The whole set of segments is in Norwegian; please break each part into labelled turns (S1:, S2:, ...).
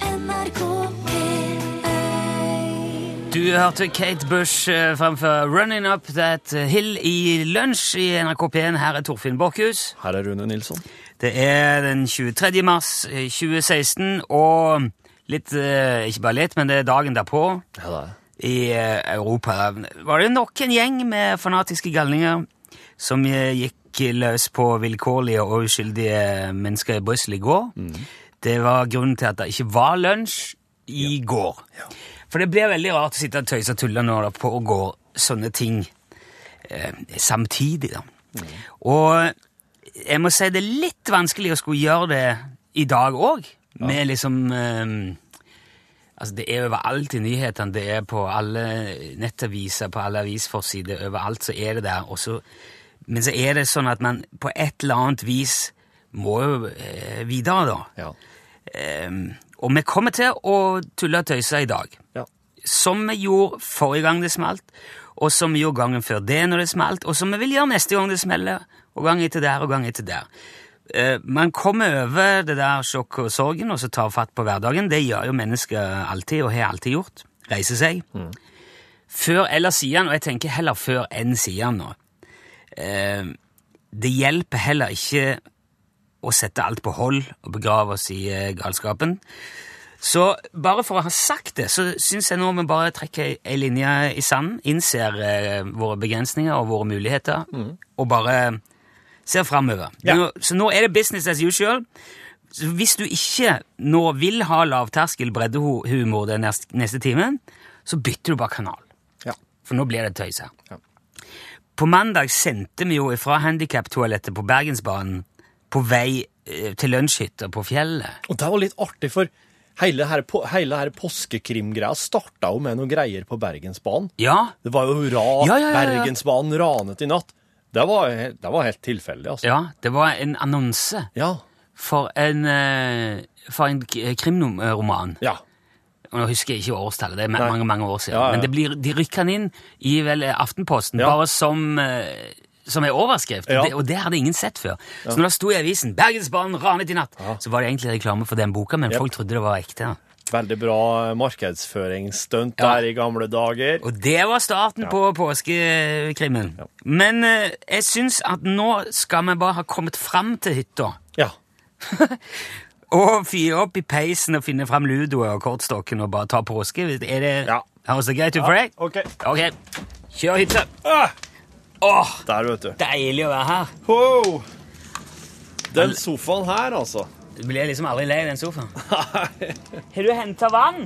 S1: NRK P1
S2: Du hørte Kate Bush eh, framfor 'Running Up That eh, Hill' i lunsj i NRK P1. Her er Torfinn Borkhus.
S3: Her er Rune Nilsson.
S2: Det er den 23. mars eh, 2016, og litt eh, Ikke bare litt, men det er dagen derpå
S3: Ja, det er.
S2: i eh, Europa. Var det nok en gjeng med fanatiske galninger som eh, gikk løs på vilkårlige og uskyldige mennesker i Brussel i går? Det var grunnen til at det ikke var lunsj i går. For det blir veldig rart å sitte og tøyse og tulle når det pågår sånne ting eh, samtidig. Da. Og jeg må si det er litt vanskelig å skulle gjøre det i dag òg, med liksom eh, Altså, det er overalt i nyhetene, det er på alle nettaviser, på alle avisforsider, overalt så er det der. Og så, men så er det sånn at man på et eller annet vis må jo eh, videre, da.
S3: Ja.
S2: Ehm, og vi kommer til å tulle og tøyse i dag.
S3: Ja.
S2: Som vi gjorde forrige gang det smalt, og som vi gjorde gangen før det når det smalt, og som vi vil gjøre neste gang det smeller, og gang etter der og gang etter der. Eh, man kommer over det der sjokket og sorgen, og så tar fatt på hverdagen. Det gjør jo mennesker alltid, og har alltid gjort. Reiser seg. Før eller siden, og jeg tenker heller før enn siden nå. Eh, det hjelper heller ikke å sette alt på hold og begrave oss i eh, galskapen. Så bare for å ha sagt det, så syns jeg nå vi bare trekker ei linje i sanden, innser eh, våre begrensninger og våre muligheter, og bare ser framover.
S3: Mm. Ja.
S2: Nå- Så nå er det business as usual. Så hvis du ikke nå vil ha lavterskel breddehumor den nes- neste timen, så bytter du bare kanal.
S3: Ja.
S2: For nå blir det tøys her.
S3: Ja.
S2: På mandag sendte vi jo ifra handikaptoalettet på Bergensbanen på vei eh, til lunsjhytta på fjellet.
S3: Og det var litt artig, for hele her, po- hele her påskekrimgreia starta jo med noen greier på Bergensbanen.
S2: Ja,
S3: Det var jo hurra,
S2: Ja, ja, ja, ja.
S3: Bergensbanen ranet i natt. Det var, he- det var helt tilfeldig, altså.
S2: ja, det var en annonse
S3: Ja.
S2: for en, eh, for en k- krimroman.
S3: Ja.
S2: Og Nå husker jeg ikke årstallet, det er ma-
S3: Nei.
S2: mange mange år siden.
S3: Ja, ja.
S2: Men det blir, de rykker den inn i vel eh, Aftenposten,
S3: Ja.
S2: bare som eh, som er overskrift,
S3: Ja.
S2: det, og det hadde ingen sett før. Så når det sto i avisen 'Bergensbanen ranet i natt', så var det egentlig reklame for den boka, men
S3: Yep.
S2: folk trodde det var ekte. da.
S3: Veldig bra markedsføringsstunt
S2: Ja.
S3: der i gamle dager.
S2: Og det var starten på påskekrimmen. Men eh, jeg syns at nå skal vi bare ha kommet fram til hytta.
S3: Ja.
S2: Og fyre opp i peisen og finne fram ludoen og kortstokken og bare ta påske. Er det,
S3: Ja.
S2: Høres det greit ut for deg?
S3: OK.
S2: Ok, kjør hytte.
S3: Ah,
S2: Åh,
S3: der, vet du.
S2: deilig å være her.
S3: Wow. Den sofaen her, altså.
S2: Du blir liksom aldri lei i den sofaen. Har du henta vann?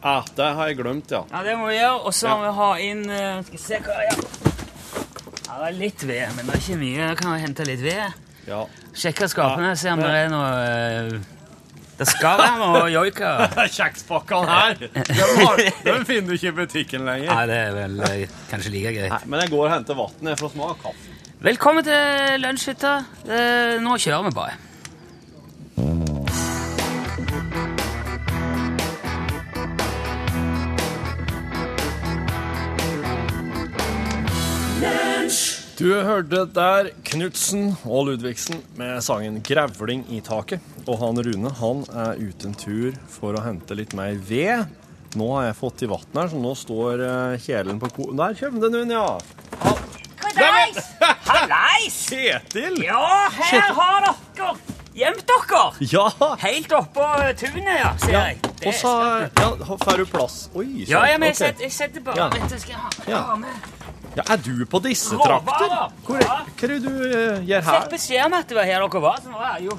S3: Ja, det har jeg glemt, ja.
S2: Ja, det må vi gjøre. Og så må vi ha inn eh, Skal vi se hva det er. Ja, det er litt ved, men det er ikke mye. Jeg kan jo hente litt ved.
S3: ja.
S2: Sjekke skapene, se om det er noe eh, Det skal være noe joiker.
S3: Kjekspakkene her! Den, har, den finner du ikke i butikken lenger.
S2: Nei, det er vel eh, kanskje like greit.
S3: Men jeg går og henter vann for å smake kaffe.
S2: Velkommen til lunsjhytta. Eh, Nå kjører vi bare.
S3: Du hørte der Knutsen og Ludvigsen med sangen 'Grevling i taket'. Og han Rune han er ute en tur for å hente litt mer ved. Nå har jeg fått i vann her, så nå står eh, kjelen på ko... Der kommer den hun, ja!
S2: Hallais! Hallais!
S3: Kjetil!
S2: Ja, her har dere gjemt dere.
S3: Ja!
S2: Helt oppå tunet, ja, ser
S3: ja.
S2: jeg. Det
S3: Og så
S2: er-
S3: ja, får du plass. Oi, sånn,
S2: ja, ja, men jeg
S3: ok.
S2: setter, jeg setter bare
S3: Ja.
S2: Dette skal jeg ha, jeg
S3: Ja.
S2: har med.
S3: ja, Er du på disse
S2: Råvarer.
S3: trakter? Hvor,
S2: Ja.
S3: hva er det du eh, gjør
S2: Fikk
S3: her?
S2: beskjed om at det var her dere var, så nå er jeg jo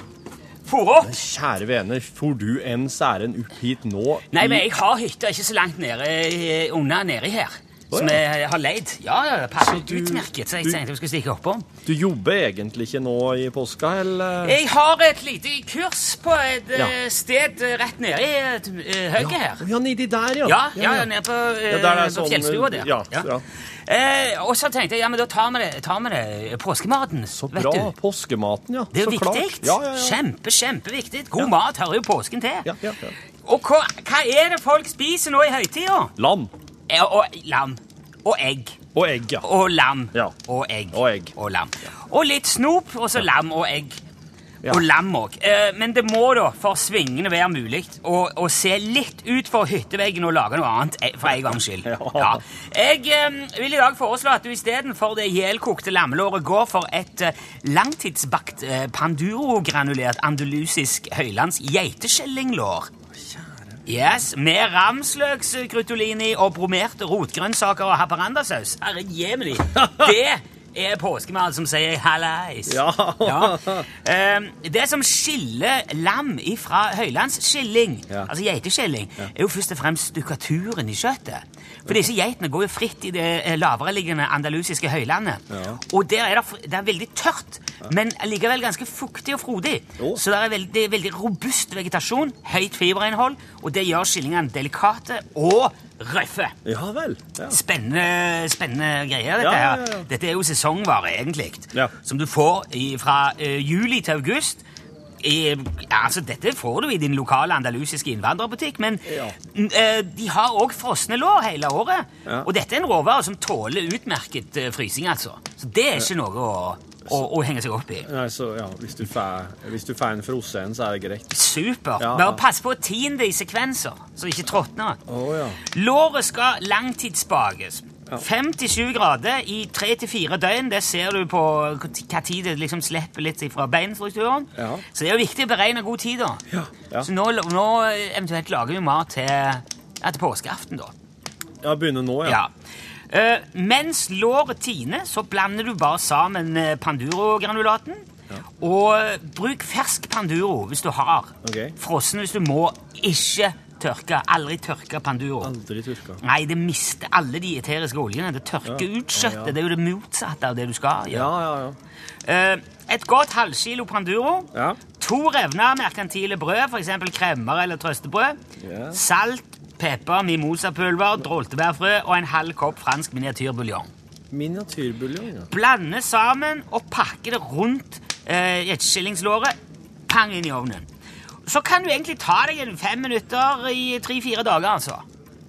S2: fôret opp.
S3: Kjære venner, får du en særen opp hit nå?
S2: Nei,
S3: i-
S2: men jeg har hytta ikke så langt nede, eh, unna nedi her. Som
S3: Å, ja.
S2: jeg har leid. Ja, ja, det passer
S3: Så du-
S2: utmerket, så jeg
S3: du-
S2: tenkte vi skulle stikke oppom.
S3: Du jobber egentlig ikke nå i påska, eller?
S2: Jeg har et lite kurs på et
S3: Ja.
S2: eh, sted eh, rett nede i eh, høyre her.
S3: Ja, nedi der, ja.
S2: Ja, ja, ja, nede på, eh,
S3: Ja, der er
S2: på
S3: sånn,
S2: fjellstua der.
S3: ja, ja.
S2: Eh, og så tenkte jeg, ja, men da tar vi det, tar vi det eh, påskematen.
S3: Så
S2: vet
S3: bra.
S2: Du.
S3: Påskematen, ja.
S2: Det er jo
S3: så klart.
S2: viktig.
S3: Ja, ja, ja.
S2: Kjempe, kjempeviktig. God mat hører jo påsken til.
S3: Ja, ja, ja.
S2: Og hva, hva er det folk spiser nå i høytida?
S3: Lam
S2: Eh, Og lam. Og egg.
S3: og egg, ja.
S2: Og lam.
S3: Ja.
S2: Og egg.
S3: Og egg.
S2: Og lam. Og litt snop, og så lam og egg.
S3: Ja.
S2: Og lam òg. Eh, men det må da for svingene være mulig å, å se litt ut for hytteveggen og lage noe annet eh, for en gangs skyld.
S3: Ja.
S2: Jeg eh, vil i dag foreslå at du istedenfor det helkokte lammelåret går for et eh, langtidsbakt eh, pandurogranulert andalusisk høylands geiteskjellinglår. Yes, Med ramsløksgrutolini og bromerte rotgrønnsaker og haparandasaus. Herre jemini! Det er påskemad som sier hallais.
S3: Ja.
S2: Ehm, det som skiller lam fra høylandsskilling,
S3: Ja.
S2: altså geiteskilling, er jo først og fremst stukkaturen i kjøttet. For disse geitene går jo fritt i det eh, lavereliggende andalusiske høylandet.
S3: Ja.
S2: Og der er det, fr- det er veldig tørt, men likevel ganske fuktig og frodig.
S3: Jo.
S2: Så det er veldig, veldig robust vegetasjon, høyt fiberinnhold, og det gjør skillingene delikate og røffe.
S3: Ja vel. Ja.
S2: Spennende, spennende greier, dette
S3: Ja, ja,
S2: her.
S3: ja.
S2: Dette er jo sesongvare, egentlig.
S3: Ja.
S2: Som du får i, fra eh, juli til august. I, ja, altså, dette får du i din lokale andalusiske innvandrerbutikk, men
S3: Ja.
S2: n- eh, de har òg frosne lår hele året.
S3: Ja.
S2: Og dette er en råvare som tåler utmerket eh, frysing, altså. Så det er ikke noe å, å, å henge seg opp i.
S3: Nei, så ja, hvis du får, hvis du får en frossen, så er det greit.
S2: Supert.
S3: Ja, ja.
S2: Bare pass på å tine det i sekvenser, så det ikke tråtner.
S3: Å ja.
S2: Låret skal langtidsbakes. 57 grader i 3-4 døgn, det ser du på hva tid det liksom slipper litt fra beinstrukturen.
S3: Ja.
S2: Så det er jo viktig å beregne god tid da.
S3: Ja. Ja.
S2: Så nå, nå eventuelt lager vi mat til, ja, til påskeaften da.
S3: Ja, begynne nå, ja.
S2: Ja. Eh, mens låret tiner, så blander du bare sammen eh, Panduro-granulaten. Og eh, bruk fersk Panduro hvis du har.
S3: Ok.
S2: Frossen hvis du må. Ikke tørke. Aldri tørke Panduro.
S3: Aldri tørka.
S2: Nei, det mister alle de eteriske oljene. Det tørker
S3: Ja.
S2: ut kjøttet.
S3: Ja, ja.
S2: Det er jo det motsatte av det du skal
S3: Ja,
S2: gjøre.
S3: ja, ja.
S2: Eh, et godt halvkilo Panduro.
S3: Ja.
S2: To revner merkantile brød, f.eks. kremmer eller trøstebrød.
S3: Ja.
S2: Salt, pepper, mimosapulver, droltebærfrø og en halv kopp fransk miniatyrbuljong.
S3: Miniatyrbuljong, ja.
S2: Blande sammen og pakke det rundt eh, gjetskillingslåret. Pang inn i ovnen. Så kan du egentlig ta deg en fem minutter i tre-fire dager, altså.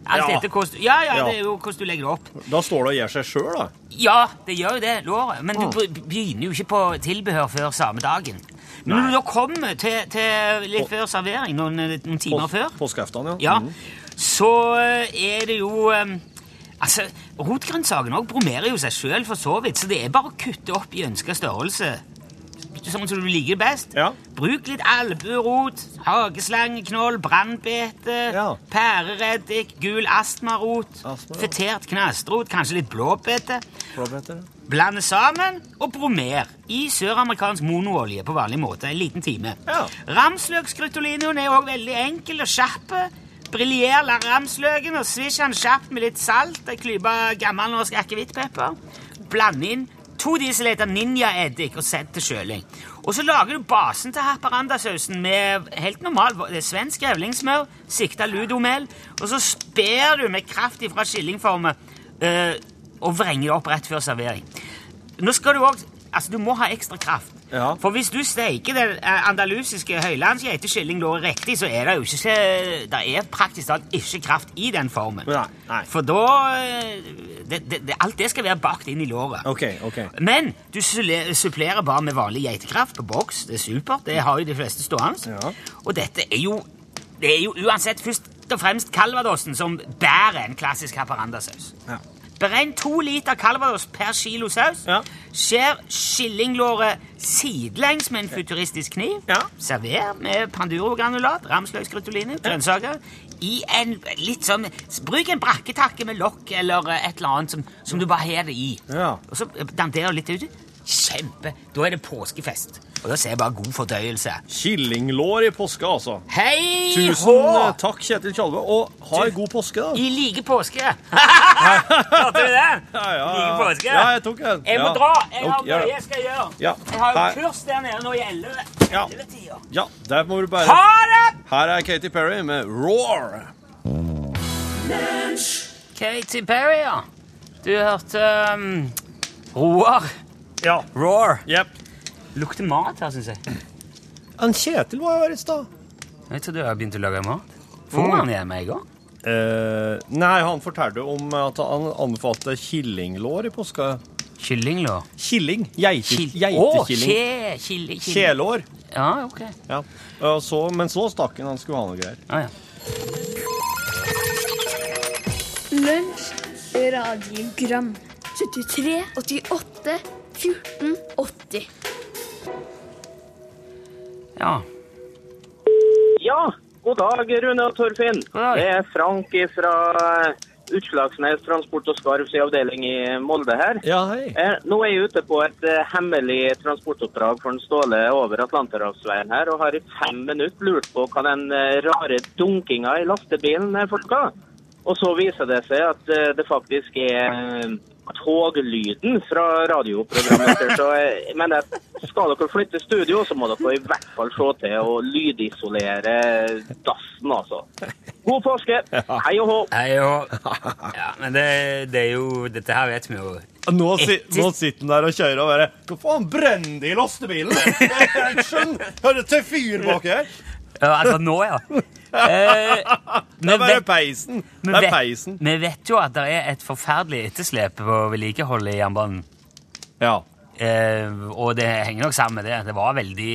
S2: Alt
S3: Ja.
S2: etter hvordan du- ja, ja,
S3: Ja.
S2: det er jo hvordan du legger det opp.
S3: Da står det og gjør seg sjøl, da.
S2: Ja, det gjør jo det, låret. Men du be- begynner jo ikke på tilbehør før samme dagen. Men
S3: Nei.
S2: når du da kommer til, til litt før servering, noen, noen timer før,
S3: Påskeaften, ja.
S2: ja,
S3: Mm.
S2: så eh, er det jo eh, Altså, Rotgrønnsaken òg bromerer jo seg sjøl, for så vidt, så det er bare å kutte opp i ønska størrelse. Sånn som du liker best.
S3: Ja.
S2: Bruk litt albuerot, hageslangeknoll, brannbete,
S3: Ja.
S2: pærereddik, gul astmarot,
S3: Astma, ja.
S2: fetert knastrot, kanskje litt blåbete.
S3: Blåbærter, ja.
S2: Blande sammen og bromer i søramerikansk monoolje på vanlig måte en liten time.
S3: Ja.
S2: Ramsløkskrutolinoen er òg veldig enkel og skjerp. Briljer la ramsløken og svisj den kjapt med litt salt. En klype gammel norsk akevittpepper. Blande inn to desiliter ninjaeddik og sett til kjøling. Og så lager du basen til haparandasausen med helt normal det er svensk grevlingsmør, sikta ludomel, og så sper du med kraft ifra skillingformet eh, og vrenger det opp rett før servering. Nå skal du også, altså du må ha ekstra kraft.
S3: Ja.
S2: For hvis du steiker det eh, andalusiske høylandsgeiteskillinglåret riktig, så er det jo ikke Det er praktisk talt ikke kraft i den formen.
S3: Nei, nei.
S2: For da eh, det, det, det, Alt det skal være bakt inn i låret.
S3: OK, OK.
S2: Men du sulle- supplerer bare med vanlig geitekraft på boks. Det er supert. Det har jo de fleste stående.
S3: Ja.
S2: Og dette er jo Det er jo uansett først og fremst calvadosen som bærer en klassisk haparandasaus.
S3: Ja.
S2: Beregn to liter calvados per kilo saus.
S3: Ja.
S2: Skjær skillinglåret sidelengs med en futuristisk kniv.
S3: Ja.
S2: Server med pandurogranulat, ramsløksgrutolini, grønnsaker. I en litt sånn, Bruk en brakketakke med lokk eller eh, et eller annet som, som du bare har det i.
S3: Ja.
S2: Og så danderer du litt uti. Kjempe! Da er det påskefest. Og da sier jeg bare god fordøyelse.
S3: Kyllinglår i påske, altså.
S2: Hei
S3: Tusen eh,
S2: hå!
S3: takk, Kjetil Tjalve, og ha en god påske, da.
S2: I like påske. Hørte du det? Like påske.
S3: ja, jeg tok en.
S2: Jeg må
S3: Ja.
S2: dra. Jeg har
S3: Ok, gjør
S2: mye
S3: det.
S2: jeg skal gjøre.
S3: Ja.
S2: Jeg har
S3: Hei.
S2: jo kurs der nede nå i 11.
S3: Ja.
S2: 11-tida.
S3: Ja, der må du
S2: Ha
S3: bare
S2: det!
S3: Her er Katy Perry med 'Roar'.
S2: Katy Perry, ja. Du hørte um, Roar.
S3: Ja.
S2: Roar.
S3: Jepp.
S2: Lukter mat her, syns jeg.
S3: Han Kjetil var jo her i stad.
S2: Jeg trodde jeg hadde begynt å lage mat. Får man igjen meg i går?
S3: Eh, nei, han fortalte om at han anbefalte killinglår i påska.
S2: Kyllinglår?
S3: Killing. Geite,
S2: Kil- Å,
S3: geitekilling.
S2: kje, kille, kille.
S3: Kjælår.
S2: Ja, ok.
S3: Ja. Og Så, men så stakk han, han skulle ha noe greier.
S2: Ah, ja.
S1: Lunsj, radiogram 73, 88, 14, 80
S2: ja.
S4: Ja, god dag, Rune og Torfinn.
S2: God dag.
S4: Det er Frank fra Utslagsnes Transport og Skarvs i avdeling i Molde her.
S3: Ja, hei.
S4: Eh, Nå er jeg ute på et eh, hemmelig transportoppdrag for en Ståle over Atlanterhavsveien her, og har i fem minutter lurt på hva den eh, rare dunkinga i lastebilen er for noe. Og så viser det seg at eh, det faktisk er eh, toglyden fra radioprogrammet. deres, Så eh, jeg mener at skal dere flytte studio, så må dere i hvert fall se til å lydisolere dassen, altså. God påske! Hei og hå!
S2: Nei, jo. ja men det, det er jo Dette her vet vi jo.
S3: Nå, si,
S2: Etter-
S3: nå sitter han der og kjører og bare Hva faen brenner det i lastebilen? Jeg skjønner! Hører til fyr bak her.
S2: Ja, altså nå, ja. Eh,
S3: Det
S2: vi
S3: er bare
S2: vet-
S3: peisen.
S2: vi
S3: Det er
S2: vet-
S3: peisen.
S2: Vi vet jo at det er et forferdelig etterslep på vedlikeholdet i jernbanen.
S3: Ja.
S2: Eh, og det henger nok sammen med det. Det var veldig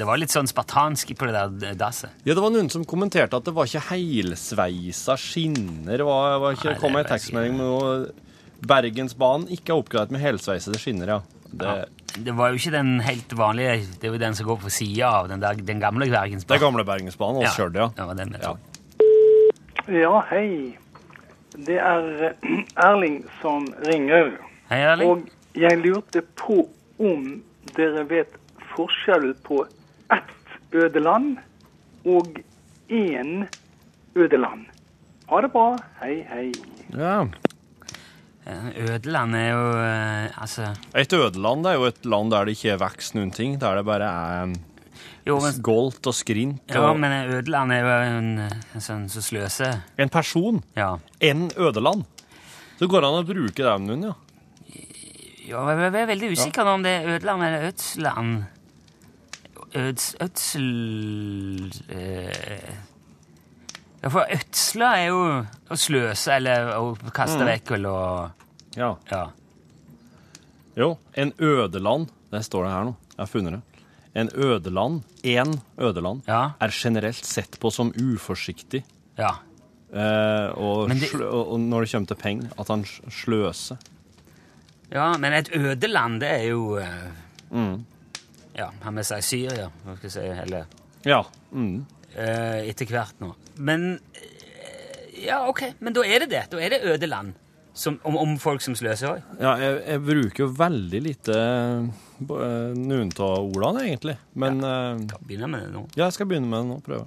S2: Det var litt sånn spartansk på det der dasset.
S3: Ja, det var noen som kommenterte at det var ikke heilsveisa skinner. Var, var ikke,
S2: Nei,
S3: det
S2: det
S3: kom
S2: er
S3: en
S2: bare
S3: tekstmelding med noe Bergensbanen ikke er oppgradert med helsveisede skinner, ja. Det,
S2: Det var jo ikke den helt vanlige Det er jo den som går på sida av den, der, den gamle
S3: det
S2: Bergensbanen.
S3: er gamle Bergensbanen, og så kjører det, ja.
S2: Det var den jeg
S3: Ja.
S2: tok.
S5: Ja, hei. Det er eh, Erling som ringer.
S2: Hei, Erling.
S5: Og jeg lurte på om dere vet forskjellen på ett ødeland og én ødeland. Ha det bra. Hei, hei.
S3: ja.
S2: Eh, Ødeland er jo eh, Altså
S3: Et ødeland det er jo et land der det ikke er vokst noen ting. Der det bare er um,
S2: Jo, men,
S3: goldt og skrint.
S2: ja,
S3: Og
S2: men eh, Ødeland er jo en, en sånn som sløser.
S3: en person.
S2: Ja.
S3: En ødeland. Så går det an å bruke det om noen, ja.
S2: ja jeg, jeg er veldig usikker nå om det er Ødeland eller Ødsland. Øds... Ødsl... Eh, ja, for ødsle er jo å sløse eller å kaste vekk eller å
S3: ja.
S2: Ja.
S3: Jo, en ødeland, der står det her nå, jeg har funnet det. En ødeland, en ødeland,
S2: Ja.
S3: er generelt sett på som uforsiktig,
S2: ja.
S3: eh, og,
S2: Men det-
S3: slø, og og når det kommer til penger, at han sl- sløser.
S2: Ja, men et ødeland, det er jo eh, Ja, har vi sagt Syria, hva skal jeg si, eller
S3: Ja, mm.
S2: eh, etter hvert nå. Men eh, Ja, OK, men da er det det. Da er det ødeland. Som, om, om folk som sløser òg.
S3: ja jeg, jeg bruker jo veldig lite eh, bo- eh, noen av ordene, egentlig. Men eh,
S2: Begynner med det nå.
S3: ja, jeg skal begynne med det nå, prøve.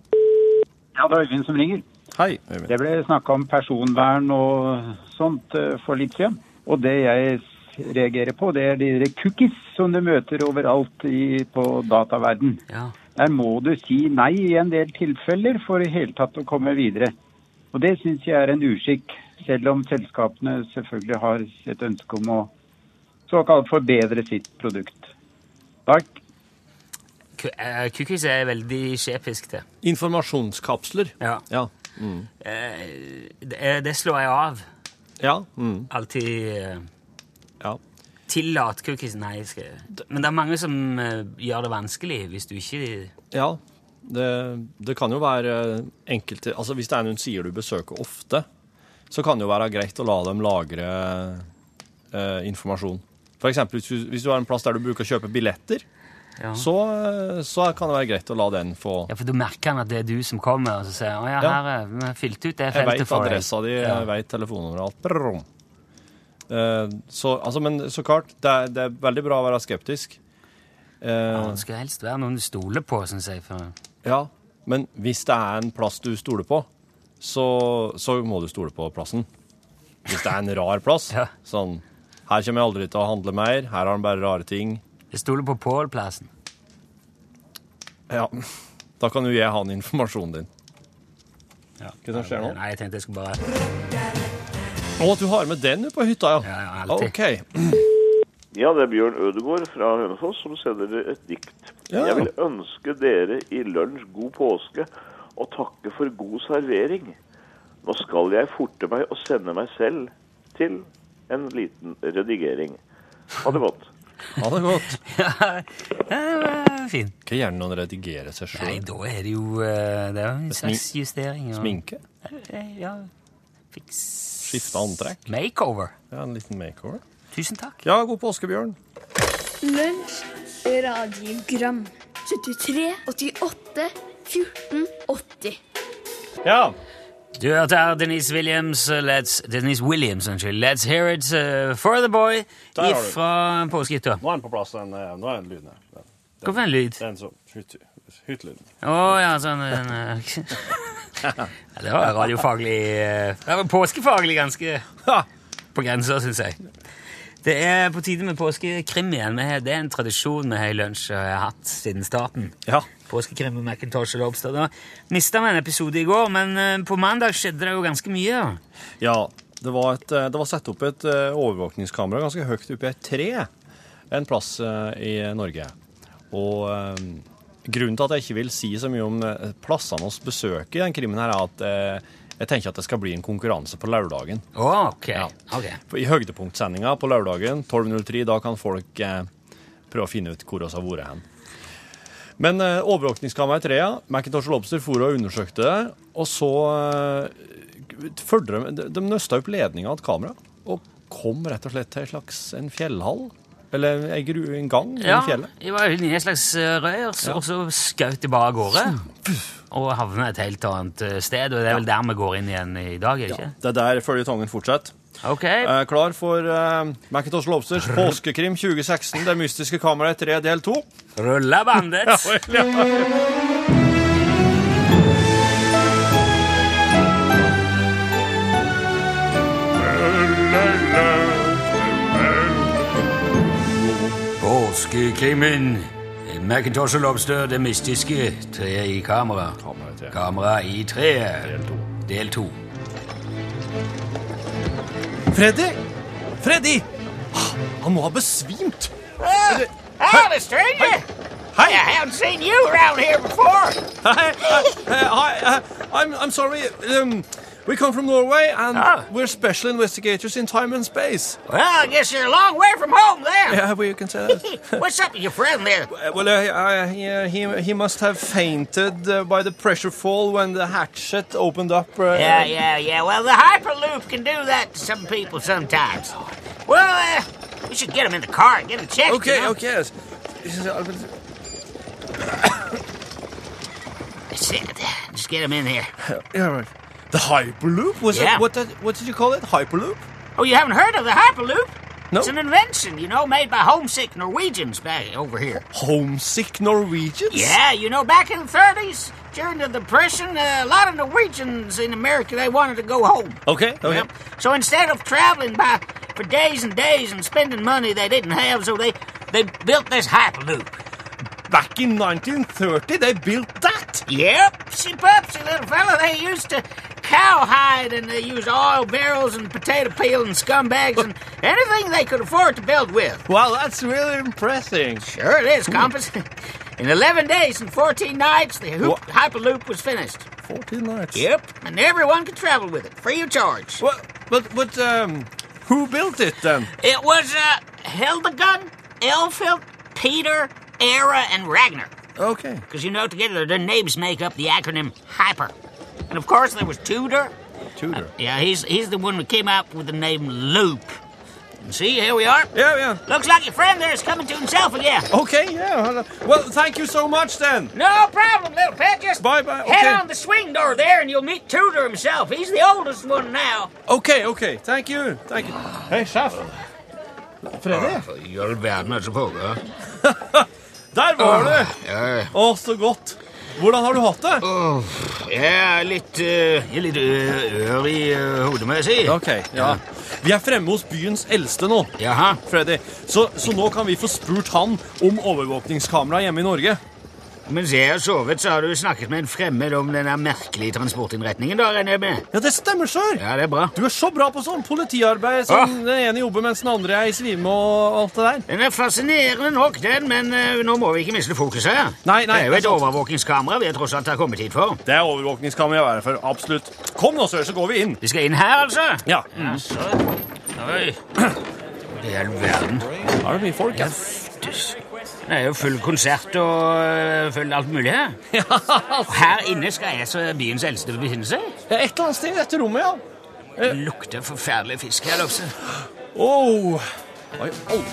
S6: Ja, det er Øyvind som ringer.
S3: Hei, Øyvind.
S6: Det ble snakka om personvern og sånt eh, for litt siden. Og det jeg reagerer på, det er de der cookies som du møter overalt i, på dataverden.
S2: Ja.
S6: Der må du si nei i en del tilfeller for i hele tatt å komme videre. Og det syns jeg er en uskikk, selv om selskapene selvfølgelig har et ønske om å såkalt forbedre sitt produkt. Takk.
S2: Ku- eh, Cookies er veldig skjepisk, det.
S3: Informasjonskapsler.
S2: Ja.
S3: Ja.
S2: Eh, det. Det slår jeg av.
S3: Ja. Mm.
S2: Alltid eh,
S3: ja.
S2: tillat cookies. Nei, jeg skal Men det er mange som eh, gjør det vanskelig hvis du ikke
S3: Ja, det, det kan jo være enkelte Altså hvis det er noen sider du besøker ofte, så kan det jo være greit å la dem lagre eh, informasjon. For eksempel hvis du, hvis du har en plass der du bruker å kjøpe billetter,
S2: Ja.
S3: så, så kan det være greit å la den få
S2: Ja, for da merker han at det er du som kommer, og så sier han «Å ja,
S3: Ja.
S2: her er vi har fylt ut det
S3: Jeg
S2: feltet
S3: veit
S2: for deg.
S3: adressa di,
S2: Ja.
S3: jeg veit telefonnummeret, alt. Brrrrum. Eh, så, altså, men så klart, det er, det er veldig bra å være skeptisk. Eh,
S2: Det skal helst være noen du stoler på, syns jeg. For...
S3: Ja, men hvis det er en plass du stoler på, så, så må du stole på plassen. Hvis det er en rar plass,
S2: Ja.
S3: sånn Her kommer jeg aldri til å handle mer, her har han bare rare ting.
S2: Jeg stoler på Pål-plassen.
S3: Ja, Da kan jo jeg ha den informasjonen din. Hva er det som skjer nå?
S2: Nei, jeg tenkte jeg skulle bare
S3: Å, du har med den på hytta, ja.
S2: Ja, ja, alltid.
S3: Ok.
S7: Ja, det er Bjørn Ødegård fra Hønefoss som sender dere et dikt.
S3: Ja.
S7: Jeg vil ønske dere i lunsj god påske og takke for god servering. Nå skal jeg forte meg og sende meg selv til en liten redigering. Ha det godt.
S3: Ha det godt.
S2: Ja, det var fint.
S3: Ikke gjerne noen redigere seg
S2: Nei,
S3: sjøl.
S2: da er det jo eh, Det er jo en slags justering. og-
S3: Sminke.
S2: Eh, Ja. Fiks
S3: Skifte antrekk.
S2: Makeover.
S3: Ja, en liten makeover.
S2: Tusen takk.
S3: Ja, god påske, Bjørn.
S1: Lunsj, radiogram 73, 88, 14, 80.
S3: Ja.
S2: Du hørte her Denise Williams, eh, let's, Denise Williams unnskyld. Let's hear it eh, for the boy uh,
S3: Der har du.
S2: fra påskehytta.
S3: Nå er den på plass, den, eh, nå er den lyden her. Den-
S2: Hvorfor en lyd?
S3: Den som hytte- Hyttelyden.
S2: Å ja, sånn en, eh, ja, Det var radiofaglig eh, Det var påskefaglig ganske
S3: Ha!
S2: på grensa, syns jeg. Det er på tide med påskekrim igjen. Vi har- Det er en tradisjon vi har i lunsj og har hatt siden starten.
S3: Ja.
S2: Påskekrim og Macintosh og Lobster. Da mista vi en episode i går, men eh, på mandag skjedde det jo ganske mye.
S3: Ja, det var, et, eh, det var satt opp et eh, overvåkningskamera ganske høyt oppe i et tre en plass eh, i Norge. Og eh, grunnen til at jeg ikke vil si så mye om eh, plassene vi besøker i den krimmen her, er at eh, jeg tenker at det skal bli en konkurranse på lørdagen.
S2: Å, ok.
S3: Ja.
S2: ok.
S3: For I høydepunktsendinga på lørdagen 12.03, da kan folk eh, prøve å finne ut hvor vi har vært hen. Men eh, overvåkningskameraet i trea, Macintosh og Lobster for og undersøkte det, og så eh, følte de, de- de nøsta opp ledninga av et kamera, og kom rett og slett til en slags en fjellhall, eller en, gru, en gang i
S2: Ja,
S3: fjellet.
S2: jeg var inne i et slags eh, rør, så- og så skjøt det bare av gårde. Og havna et helt annet eh, sted, og det er vel der vi går inn igjen i dag, er det ikke?
S3: Det er der føljetongen fortsetter.
S2: Ok,
S3: Eh, klar for eh, Macintosh og Lobsters påskekrim 2016, Det mystiske kameraet i tre del to.
S2: rulla bandet! Påskekrimmen. Macintosh og Lobster, det mystiske. Treet i kamera.
S3: Kameraet
S2: Kamera i
S3: i treet.
S2: treet.
S3: Del to.
S2: Del to.
S3: Freddy! Freddy! Ah, Han må ha besvimt!
S8: Hello, stranger.
S3: Hei!
S8: I haven't seen you around here before.
S3: Hei! Hei! Hi, uh, I'm, I'm sorry. Um, we come from Norway, and
S8: Ah.
S3: we're special investigators in time and space.
S8: Well, I guess you're a long way from home then.
S3: Yeah, we can say that.
S8: What's up with your friend there?
S3: Uh, Well, uh, uh, he, uh, he, he must have fainted uh, by the pressure fall when the hatchet opened up. Uh,
S8: Yeah, yeah, yeah. Well, the Hyperloop can do that to some people sometimes. Well, uh, we should get him in the car and get him checked. you
S3: Okay,
S8: know?
S3: okay. yes.
S8: That's it. Just get him in here.
S3: Yeah, right. The Hyperloop? Was
S8: Yeah.
S3: it, what, did, what did you call it? Hyperloop?
S8: Oh, you haven't heard of the Hyperloop?
S3: No.
S8: It's an invention, you know, made by homesick Norwegians back over here.
S3: Homesick Norwegians?
S8: Yeah, you know, back in the 30s, during the Depression, uh, a lot of Norwegians in America, they wanted to go home.
S3: Okay, okay.
S8: Yep. So instead of traveling by for days and days and spending money they didn't have, so they they built this hyperloop.
S3: Back in 1930, they built that.
S8: Yep, she pupsy little fella. They used to cowhide and they used oil barrels and potato peel and scumbags and anything they could afford to build with.
S3: Wow, that's really impressive.
S8: Sure it is, compass. In 11 days and 14 nights, the hoop,
S3: Wha-
S8: hyperloop was finished.
S3: 14 nights.
S8: Yep, and everyone could travel with it free of charge.
S3: Well, but, but, um, who built it then?
S8: It was uh, Hildegun, Elfeld, Peter, Era, and Ragnar.
S3: Okay.
S8: Because you know, together their names make up the acronym HYPER. And of course, there was Tudor.
S3: Tudor.
S8: Yeah, he's he's the one who came up with the name Loop. And see, here we are.
S3: Yeah, yeah.
S8: Looks like your friend there is coming to himself again.
S3: Okay, yeah. hello. Well, thank you so much then.
S8: No problem, little pet. Just
S3: Bye, bye,
S8: head
S3: okay.
S8: on the swing door there, and you'll meet Tudor himself. He's the oldest one now.
S3: Okay, okay. Thank you. Thank you. Hei, sjef. Freddy,
S2: I all verden, altså, pokker.
S3: der var du.
S8: Uh,
S2: Ja,
S3: Å, så godt. Hvordan har du hatt det?
S2: jeg er litt, eh, jeg er litt ø- ør i eh, hodet, må jeg si.
S3: Ok, ja. Vi er fremme hos byens eldste nå,
S2: Jaha.
S3: Freddy. Så, så nå kan vi få spurt han om overvåkningskamera hjemme i Norge.
S2: Mens jeg har sovet, så har du snakket med en fremmed om den der merkelige transportinnretningen, da, regner jeg med?
S3: Ja, det stemmer, sir.
S2: Ja, det er bra.
S3: Du er så bra på sånn politiarbeid som
S2: Ah.
S3: den ene jobber mens den andre er i svime og alt det der.
S2: Den er fascinerende nok, den, men eh, nå må vi ikke miste fokuset her.
S3: Nei, altså- nei,
S2: Det er jo
S3: det
S2: et
S3: er sant.
S2: overvåkingskamera vi tross alt har kommet hit for.
S3: Det er overvåkningskamera jeg være for, absolutt. Kom nå, sør, så går vi inn.
S2: Vi skal inn her, altså?
S3: Ja.
S2: Ja, så. Oi. Skal vi
S9: i hele verden.
S3: Da er det mye folk.
S9: Ja,
S3: Ja.
S9: f- dus. Det er jo full konsert og eh, full alt mulig her.
S3: altså.
S9: Og her inne skal jeg så byens eldste befinne seg.
S3: Et eller annet sted i dette rommet, ja.
S9: Det lukter forferdelig fisk her
S2: altså.
S9: også.
S3: Oh. Oi, au.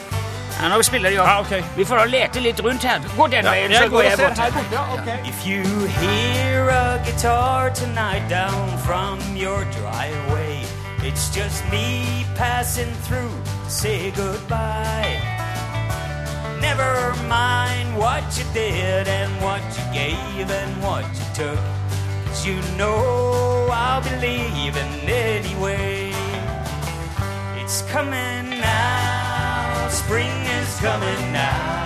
S9: Ja, nå spiller de opp.
S3: Ja, ok.
S9: Vi får da lete litt rundt her. Gå den veien, så
S3: Jeg går og ser
S9: bort.
S3: her borte. ja, ok.
S2: If you hear a guitar tonight down from your driveway, it's just me passing through to say goodbye. Never mind what you did and what you gave and what you took, 'cause you know I'll be leaving anyway. It's coming now, spring is coming now.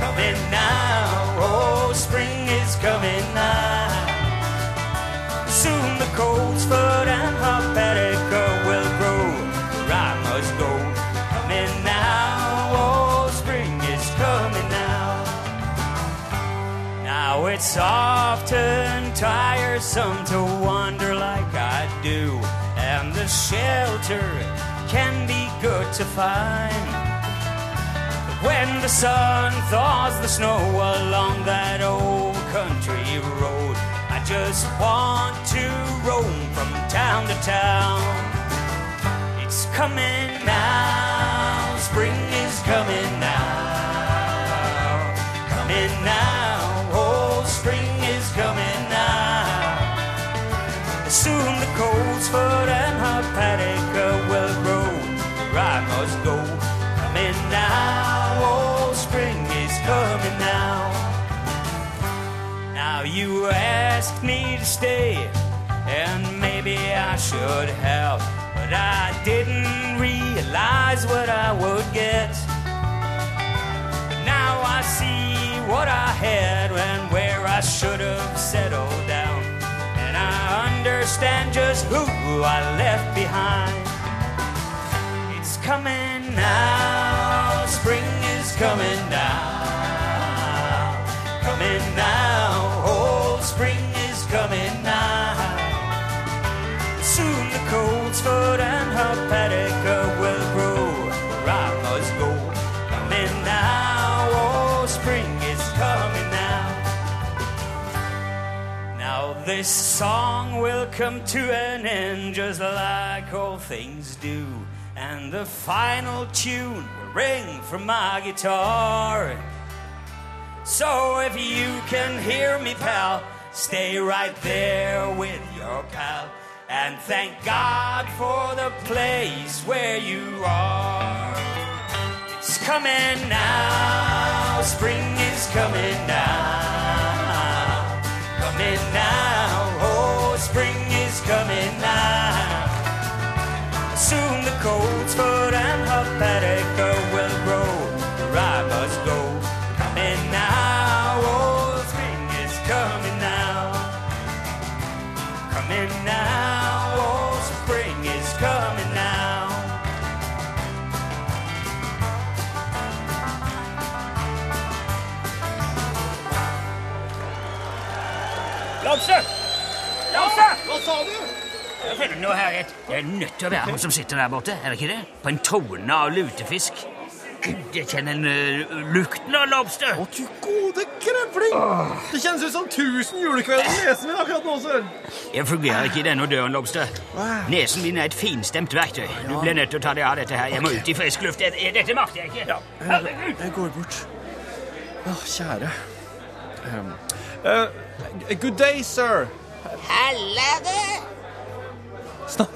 S2: Coming now, oh, spring is coming now. Soon the colts foot and hepatica will grow. where I must go. Coming now, oh, spring is coming now. Now it's often tiresome to wander like I do, and the shelter can be good to find. But when the sun thaws the snow along that old country road, I just want to roam from town to town. It's coming now. Spring is coming now. Coming now. Oh, spring is coming now. Soon the Coltsfoot and Hepatica will grow. Where I must go. Coming now. Oh, spring is coming now. Now you ask me to stay, and maybe I should have, but I didn't realize what I would get. But now I see what I had and where I should have settled down, and I understand just who I left behind. It's coming now, spring is coming now. Coming now, oh, spring is coming now. Soon the Coltsfoot and Hepatica will grow. Where I must go. Coming now, oh, spring is coming now. Now this song will come to an end just like all things do. And the final tune will ring from my guitar. So if you can hear me, pal, stay right there with your pal. And thank God for the place where you are. It's coming now, spring is coming now. Coming now, oh, spring is coming now. Soon the Coltsfoot and Hepatica will grow. Where I must go. Coming now, oh, spring is coming now. Coming now, oh, spring is coming now.
S9: Lopse! Lopse! Hva sa du? Jeg finner noe her rett. Det er nødt til å være han som sitter der borte, er det ikke det? På en tone av lutefisk. Gud, jeg kjenner en, eh, lukten av lobster.
S3: Å, du gode krevling! Det kjennes ut som 1000 julekvelder i nesen min akkurat nå, sør.
S9: Jeg fungerer ikke i denne døren, Lobster. Nesen min er et finstemt verktøy. Du blir nødt til å ta deg av dette her. Jeg må ut i frisk luft. Det- Dette makter jeg ikke. Herregud!
S3: Jeg går bort. Å, kjære. Um, eh, good day, sir.
S1: Halla, du!
S3: Sna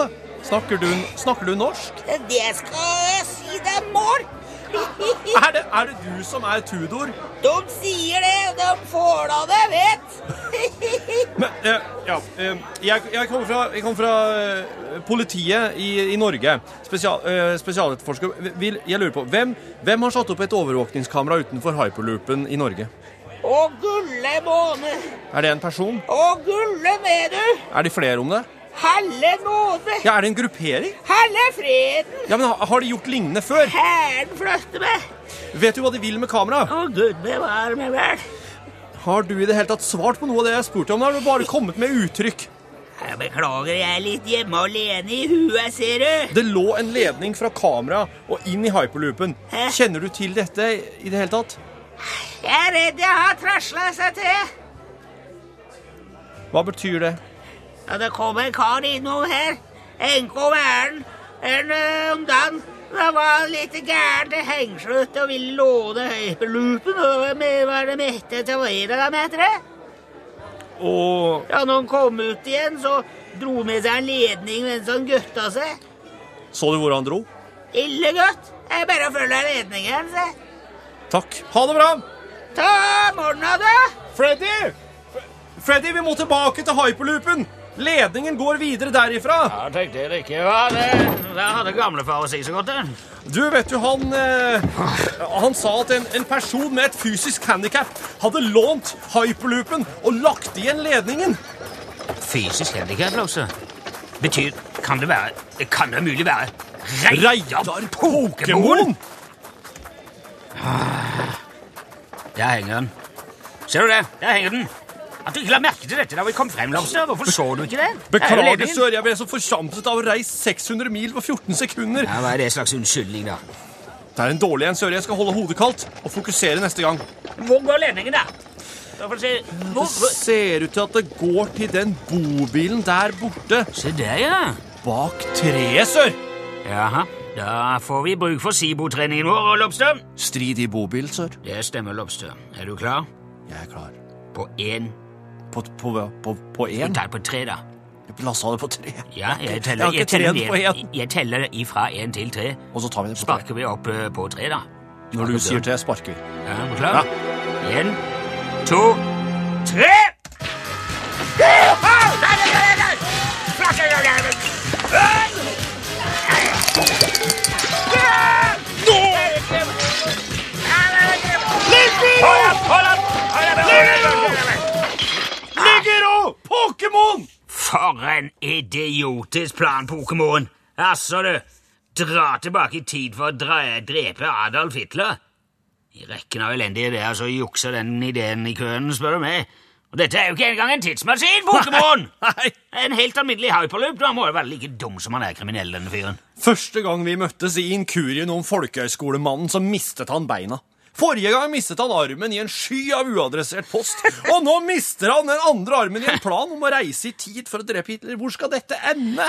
S3: snakker, du, snakker du norsk?
S1: Det skal jeg si deg, mor!
S3: Er det, er det du som er Tudor?
S1: De sier det, de får da det, vet!
S3: Men, eh, ja, eh, jeg, jeg kommer fra, jeg kommer fra eh, politiet i, i Norge. Spesial, eh, spesialetterforsker. Vil, jeg lurer på, hvem, hvem har satt opp et overvåkningskamera utenfor hyperloopen i Norge?
S1: Å, gulle måne!
S3: Er det en person?
S1: Å, gulle med, du!
S3: Er det flere om det?
S1: Halle nåde!
S3: Ja, Er det en gruppering?
S1: Halle freden!
S3: Ja, men ha- Har de gjort lignende før?
S1: Hæren fløtte meg!
S3: Vet du hva de vil med kamera?
S1: Å, gud bevare meg vel!
S3: Har du i det hele tatt svart på noe av det jeg spurte om? Eller har du bare kommet med uttrykk?
S10: Jeg beklager, jeg er litt hjemme alene i huet, ser du.
S3: Det lå en ledning fra kamera og inn i hyperloopen. Kjenner du til dette i det hele tatt?
S8: Jeg er redd jeg har trasla seg til.
S3: Hva betyr det?
S8: Ja, det kom en kar innom her. Enko Væren. En
S2: eh,
S8: ø, om dagen. Det var litt gæren til hengslutt og ville låne hyperloopen. Og hvor mye var det mette til å være da, meter det?
S3: Og
S8: Ja, når han kom ut igjen, så dro med seg en ledning mens han gøtta seg.
S3: så du hvor han dro?
S8: Ille godt. Jeg bare følger ledningen, se.
S3: Takk. Ha det bra!
S8: Ta morgena, du.
S3: Freddy! F- Freddy, vi må tilbake til hyperloopen! Ledningen går videre derifra.
S8: Ja, tenkte jeg ikke var det. Da hadde gamlefar å si så godt, det.
S3: Du, vet du, han eh, Han sa at en, en person med et fysisk handikap hadde lånt hyperloopen og lagt igjen ledningen.
S2: Fysisk handikap, altså. Betyr Kan det være Det kan da mulig være
S3: Reidar Pokémon?
S2: Der henger den. Ser du det? Der henger den. At du ikke la merke til dette da vi kom frem, Lobster. Hvorfor så du ikke det? Her er
S3: Beklager,
S2: ledningen.
S3: sør. Jeg ble så forsamlet av å reise 600 mil på 14 sekunder.
S2: Ja, Hva er det slags unnskyldning, da?
S3: Det er en dårlig en, sør. Jeg skal holde hodet kaldt og fokusere neste gang.
S10: Hvor går ledningen, da? Da får vi se. Hvor,
S3: Det ser ut til at det går til den bobilen der borte.
S2: Se der, ja.
S3: Bak treet, sør.
S2: Jaha. Da får vi bruk for Sibo-treningen vår, Lobster.
S3: Strid i bobil, sør.
S2: Det stemmer, Lobster. Er du klar?
S3: Jeg er klar.
S2: På én
S3: På, på, på, på
S2: Du
S3: én?
S2: tar på tre, da.
S3: La oss ha det på tre.
S2: Ja, jeg
S3: Jeg
S2: teller,
S3: har
S2: jeg
S3: ikke
S2: teller,
S3: trent på
S2: ned,
S3: én.
S2: jeg teller ifra én til tre.
S3: Og så tar vi det på tre.
S2: Sparker vi opp eh, på tre, da.
S3: Når du sier tre, sparker vi.
S2: Ja, er du klar? En, to, tre!
S3: Ligger og Pokémon!
S2: For en idiotisk plan, Pokémon! Altså, du. Dra tilbake i tid for å dra, drepe Adolf Hitler. I rekken av elendige ideer så jukser den ideen i køen, spør du meg. Og dette er jo ikke engang en tidsmaskin, Pokémon!
S3: Nei.
S2: En helt alminnelig hyperloop. Da må jo være like dum som han er kriminell, denne fyren.
S3: Første gang vi møttes i inkurien om folkehøyskolemannen, så mistet han beina. Forrige gang mistet han armen i en sky av uadressert post, og nå mister han den andre armen i en plan om å reise i tid for å drepe Hitler. Hvor skal dette ende?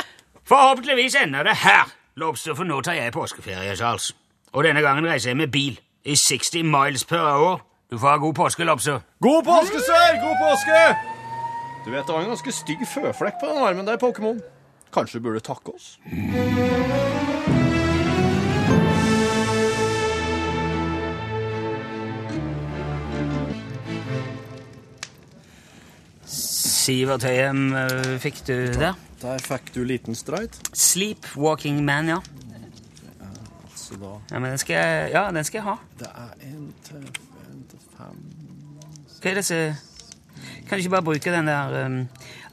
S2: Forhåpentligvis ender det her, Lobster, for nå tar jeg påskeferie, Charles. Og denne gangen reiser jeg med bil. I 60 miles per hour. Du får ha god påske, Lobster.
S3: God påske, sør! God påske! Du vet, det var en ganske stygg føflekk på den armen der, Pokémon. Kanskje du burde takke oss?
S2: Sivert Høyem, eh, fikk du det?
S3: Der fikk du liten streit.
S2: Sleepwalking Man, ja.
S3: Så da
S2: Ja, men den skal jeg, ja, den skal jeg ha.
S3: Det er en til en til fem
S2: Hva er disse Kan du ikke bare bruke den der um...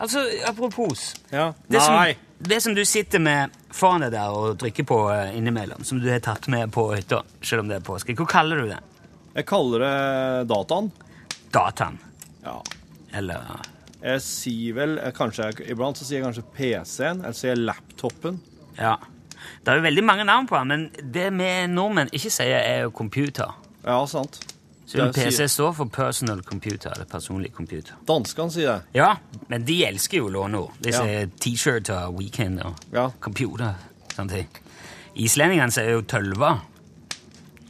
S2: Altså, apropos
S3: Ja.
S2: det som,
S3: Nei!
S2: det som du sitter med foran deg der og drikker på eh, innimellom, som du har tatt med på hytta, selv om det er påske, hva kaller du det?
S3: Jeg kaller det dataen.
S2: Dataen?
S3: Ja.
S2: Eller
S3: Jeg sier vel eh, kanskje, jeg- Iblant så sier jeg kanskje PC-en, eller sier jeg laptopen.
S2: Ja. Det er jo veldig mange navn på den, men det vi nordmenn ikke sier, er jo computer.
S3: Ja, sant.
S2: Så en
S3: Det
S2: PC
S3: sier-
S2: står for personal computer, eller personlig computer.
S3: Danskene sier det.
S2: Ja, men de elsker jo låneord. De
S3: Ja.
S2: sier øh, T-shirt og weekend og
S3: Ja.
S2: computer. Sånne ting. Islendingene sier jo tølva.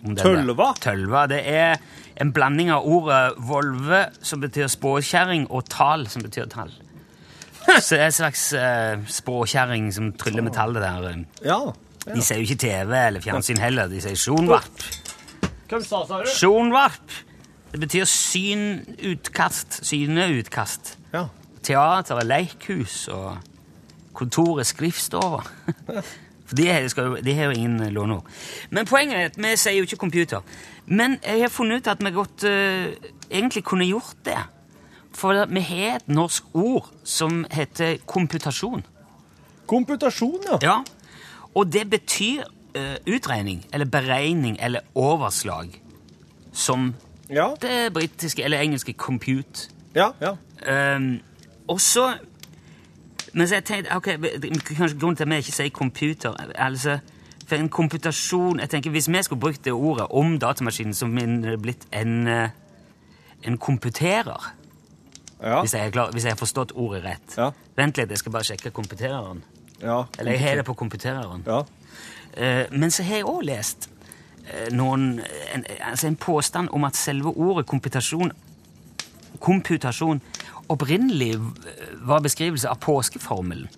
S2: om den der.
S3: Tølva?
S2: Tølva, Det er en blanding av ordet volve, som betyr spåkjerring, og tal, som betyr tall. Så det er en slags uh, spåkjerring som tryller med tallet der. eh.
S3: Ja.
S2: De sier jo ikke TV eller fjernsyn heller. De sier sjonvarp.
S3: Hvem sa det?
S2: Sjonvarp! Det betyr synutkast. Syneutkast.
S3: Ja.
S2: Teater er leikhus, og kontor er skriftstova. For de, er- skal jo- de har jo ingen låneord. Men poenget er at vi sier jo ikke computer. Men jeg har funnet ut at vi godt eh, egentlig kunne gjort det. For vi har et norsk ord som heter komputasjon.
S3: Komputasjon, ja.
S2: Ja, og det betyr eh, utregning, eller beregning, eller overslag, som
S3: Ja,
S2: det britiske eller engelske compute.
S3: ja. ja.
S2: Um, og så Ehm, Men så jeg tenkte, ok, kanskje grunnen til at vi ikke sier computer, altså, for en komputasjon, jeg tenker, hvis vi skulle brukt det ordet om datamaskinen, så ville det blitt en, eh, en komputerer. Hvis, jeg er klar, hvis jeg har forstått ordet rett. Vent litt, jeg skal bare sjekke komputereren. Eller jeg har det på komputereren. Eh, men så har jeg òg lest eh, noen, en, altså en påstand om at selve ordet komputasjon, komputasjon opprinnelig v- var beskrivelse av påskeformelen.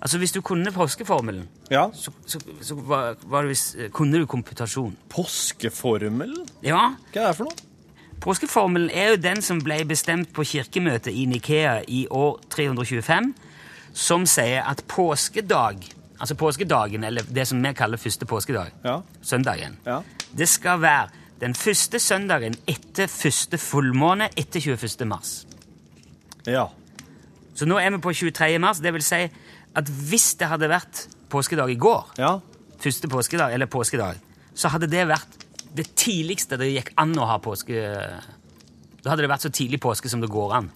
S2: Altså Hvis du kunne påskeformelen, så, så, så var, var det hvis, eh, kunne du komputasjon.
S3: Påskeformelen?
S2: Ja.
S3: Hva er det for noe?
S2: Påskeformelen er jo den som ble bestemt på kirkemøtet i Nikea i år 325, som sier at påskedag, altså påskedagen, eller det som vi kaller første påskedag, søndagen, det skal være den første søndagen etter første fullmåne etter 21. mars.
S3: Ja.
S2: Så nå er vi på 23. mars, det vil si at hvis det hadde vært påskedag i går, første påskedag, eller påskedag, så hadde det vært det tidligste det gikk an å ha påske... Da hadde det vært så tidlig påske som det går an.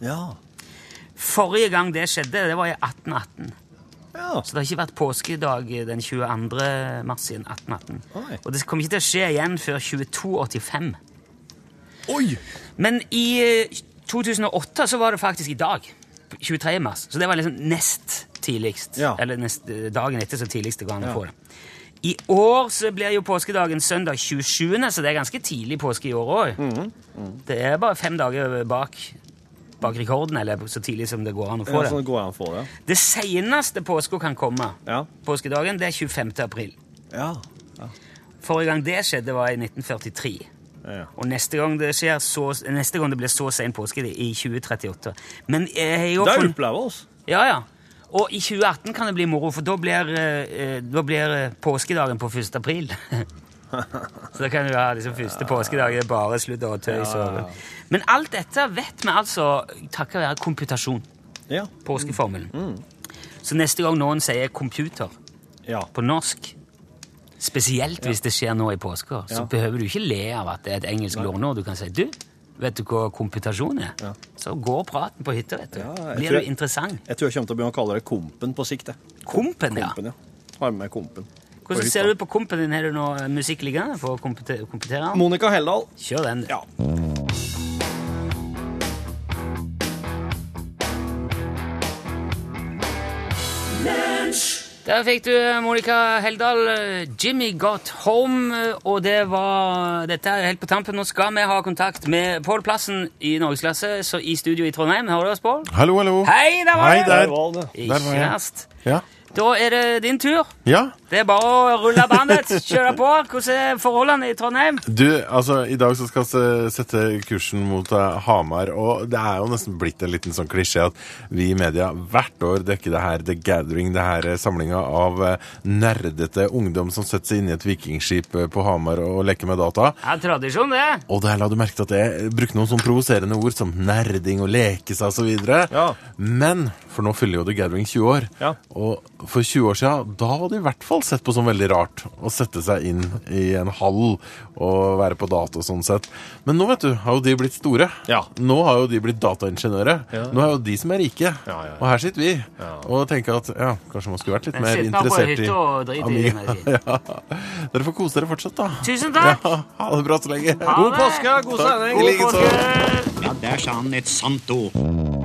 S2: Forrige gang det skjedde, det var i 1818. Så det har ikke vært påskedag den 22. mars siden 1818. Og det kommer ikke til å skje igjen før 2285.
S3: Oi!
S2: Men i eh, 2008 så var det faktisk i dag, 23. mars, så det var liksom nest tidligst. Eller nest, eh, dagen etter så tidligst det går an å
S11: Ja.
S2: få det. I år så blir jo påskedagen søndag 27., så det er ganske tidlig påske i år òg. Det er bare fem dager bak, bak rekorden, eller så tidlig som det går an å få
S3: Ja,
S2: det.
S3: sånn går an å få det.
S2: Det seneste påska kan komme, påskedagen, det er 25. april.
S3: Ja.
S2: Forrige gang det skjedde, var i 1943. Og neste gang det skjer så, neste gang det blir så sen påske, det er i 2038. Men jeg har jo
S3: Det er
S2: funnet-
S3: opplever oss.
S2: Ja, ja. Og i 2018 kan det bli moro, for da blir, eh, eh, da blir eh, påskedagen på 1. april. så da kan du ha liksom første påskedag, det er bare sludder og tøys.
S11: Ja, ja, ja.
S2: Og... Men alt dette vet vi altså takket være komputasjon. Påskeformelen. Så neste gang noen sier computer på norsk, spesielt hvis det skjer nå i påska, så
S11: Ja.
S2: behøver du ikke le av at det er et engelsk
S11: Nei.
S2: lånord. Du kan si du, vet du hva komputasjon er? Så går praten på hytta, vet du.
S3: jeg
S2: Blir
S3: tror-
S2: du interessant?
S3: Jeg tror jeg kommer til å begynne å kalle det Kompen på sikt. jeg.
S2: Kompen, ja.
S3: Kompen, ja. Har med Kompen. på
S2: Hvordan
S3: hytta.
S2: ser du på kompen din? Har du noe musikk liggende for å kompete- kompetere? den?
S3: Monica Heldal.
S2: Kjør den.
S3: Ja.
S2: Der fikk du eh, Monica Heldal, eh, 'Jimmy Got Home', eh, og det var Dette er helt på tampen. Nå skal vi ha kontakt med Pål Plassen i Norgesklasse, så i studio i Trondheim. Hører du oss, Pål?
S12: Hallo, hallo.
S2: Hei, der var
S12: Hei,
S2: det!
S12: der.
S2: Der var det.
S12: Der var jeg.
S2: Ikke verst.
S12: Ja.
S2: Da er det din tur.
S12: ja.
S2: Det er bare å rulle bandet, kjøre på. Hvordan er forholdene i Trondheim?
S12: Du, altså, i dag så skal vi sette kursen mot eh, Hamar, og det er jo nesten blitt en liten sånn klisjé at vi i media hvert år dekker det her The Gathering, det her eh, samlinga av eh, nerdete ungdom som setter seg inn i et vikingskip eh, på Hamar og leker med data.
S2: Ja, tradisjon, det.
S12: Og der la du merke til at jeg brukte noen sånn provoserende ord som nerding og leke seg osv. Ja. Men for nå fyller jo The Gathering 20 år. Og for 20 år siden da hadde de i hvert fall sett på som veldig rart å sette seg inn i en hall og være på data og sånn sett. Men nå vet du, har jo de blitt store. Nå har jo de blitt dataingeniører.
S3: Ja.
S12: Nå er jo de som er rike. Og her sitter vi og tenker at ja, kanskje man skulle vært litt
S2: Men
S12: mer
S2: sitter man på
S12: interessert i
S2: hytta og driter i det,
S12: Amiga. ja. Dere får kose dere fortsatt, da.
S2: Tusen takk.
S12: Ja, ha det bra så lenge.
S2: Ha God det. påske, god
S12: Takk.
S2: sending.
S12: I like
S2: God
S12: så.
S13: Ja, der sa
S3: sånn
S13: han et sant ord.